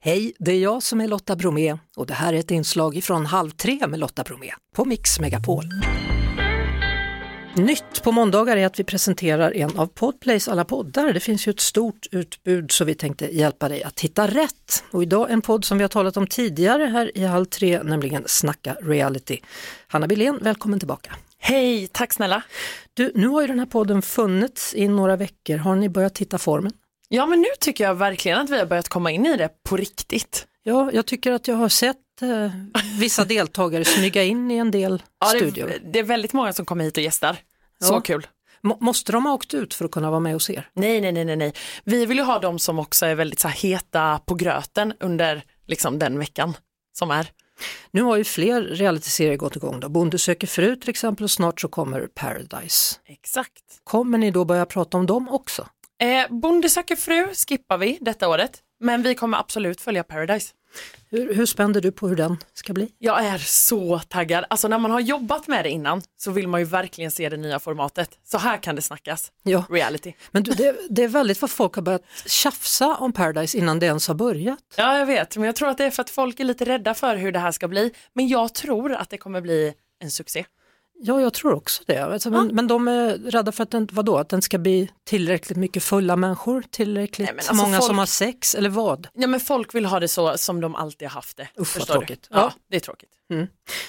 Hej, det är jag som är Lotta Bromé och det här är ett inslag från Halv tre med Lotta Bromé på Mix Megapol. Nytt på måndagar är att vi presenterar en av Podplays alla poddar. Det finns ju ett stort utbud så vi tänkte hjälpa dig att hitta rätt. Och idag en podd som vi har talat om tidigare här i Halv tre, nämligen Snacka reality. Hanna Billén, välkommen tillbaka. Hej, tack snälla. Du, nu har ju den här podden funnits i några veckor. Har ni börjat hitta formen? Ja men nu tycker jag verkligen att vi har börjat komma in i det på riktigt. Ja, jag tycker att jag har sett eh, vissa deltagare smyga in i en del det, studior. det är väldigt många som kommer hit och gästar. Ja. Så kul. Må- måste de ha åkt ut för att kunna vara med hos er? Nej, nej, nej, nej, nej. Vi vill ju ha de som också är väldigt så här, heta på gröten under liksom, den veckan som är. Nu har ju fler realityserier gått igång. Då. Bonde söker fru till exempel och snart så kommer Paradise. Exakt. Kommer ni då börja prata om dem också? Eh, Bonde söker fru skippar vi detta året, men vi kommer absolut följa Paradise. Hur, hur spänner du på hur den ska bli? Jag är så taggad. Alltså när man har jobbat med det innan så vill man ju verkligen se det nya formatet. Så här kan det snackas. Ja, Reality. men du, det, det är väldigt vad folk har börjat tjafsa om Paradise innan det ens har börjat. Ja, jag vet, men jag tror att det är för att folk är lite rädda för hur det här ska bli. Men jag tror att det kommer bli en succé. Ja, jag tror också det. Alltså, men, men de är rädda för att den, vadå, att den ska bli tillräckligt mycket fulla människor, tillräckligt Nej, men alltså många som folk- har sex eller vad? Ja, men folk vill ha det så som de alltid har haft det. vad Förstår du? tråkigt. Ja. Ja. det är tråkigt.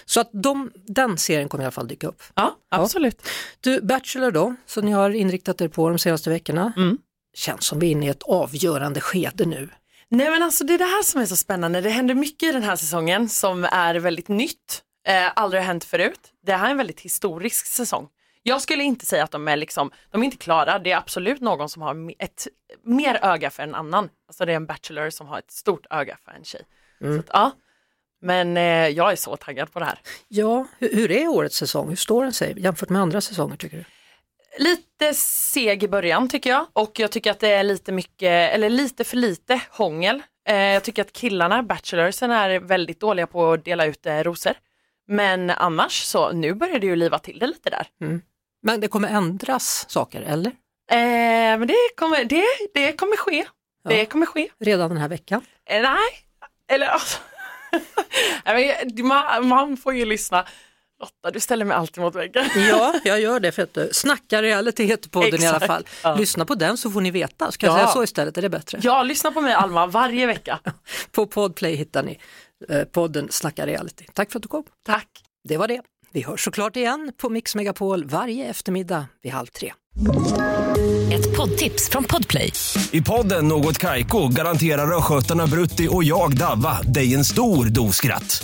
Så att de, den serien kommer i alla fall dyka upp. Ja, absolut. Du, Bachelor då, som ni har inriktat er på de senaste veckorna. Mm. Känns som vi är inne i ett avgörande skede nu. Nej, men alltså det är det här som är så spännande. Det händer mycket i den här säsongen som är väldigt nytt. Eh, aldrig har hänt förut. Det här är en väldigt historisk säsong. Jag skulle inte säga att de är liksom, de är inte klara. Det är absolut någon som har me- ett mer öga för en annan. Alltså det är en bachelor som har ett stort öga för en tjej. Så att, ja. Men eh, jag är så taggad på det här. Ja, hur, hur är årets säsong? Hur står den sig jämfört med andra säsonger tycker du? Lite seg i början tycker jag och jag tycker att det är lite mycket, eller lite för lite hångel. Eh, jag tycker att killarna, bachelorsen, är väldigt dåliga på att dela ut eh, rosor. Men annars så, nu börjar det ju liva till det lite där. Men det kommer ändras saker, eller? Eh, men det kommer, det, det kommer ske. Det kommer ske. Redan den här veckan. Eh, nej, eller alltså. Nej, men, man, man får ju lyssna. Lotta, du ställer mig alltid mot väggen. Ja, jag gör det för att du snackar reality heter podden i alla Exakt, fall. ja. Lyssna på den så får ni veta. Ska jag Ja. säga så istället, är det bättre? Ja, lyssna på mig Alma varje vecka. På Podplay hittar ni eh, podden Snacka reality. Tack för att du kom. Tack. Det var det. Vi hörs såklart igen på Mix Megapol varje eftermiddag vid halv tre. Ett poddtips från Podplay. I podden Något Kaiko garanterar östgötarna Brutti och jag, Davva, dig en stor dos skratt.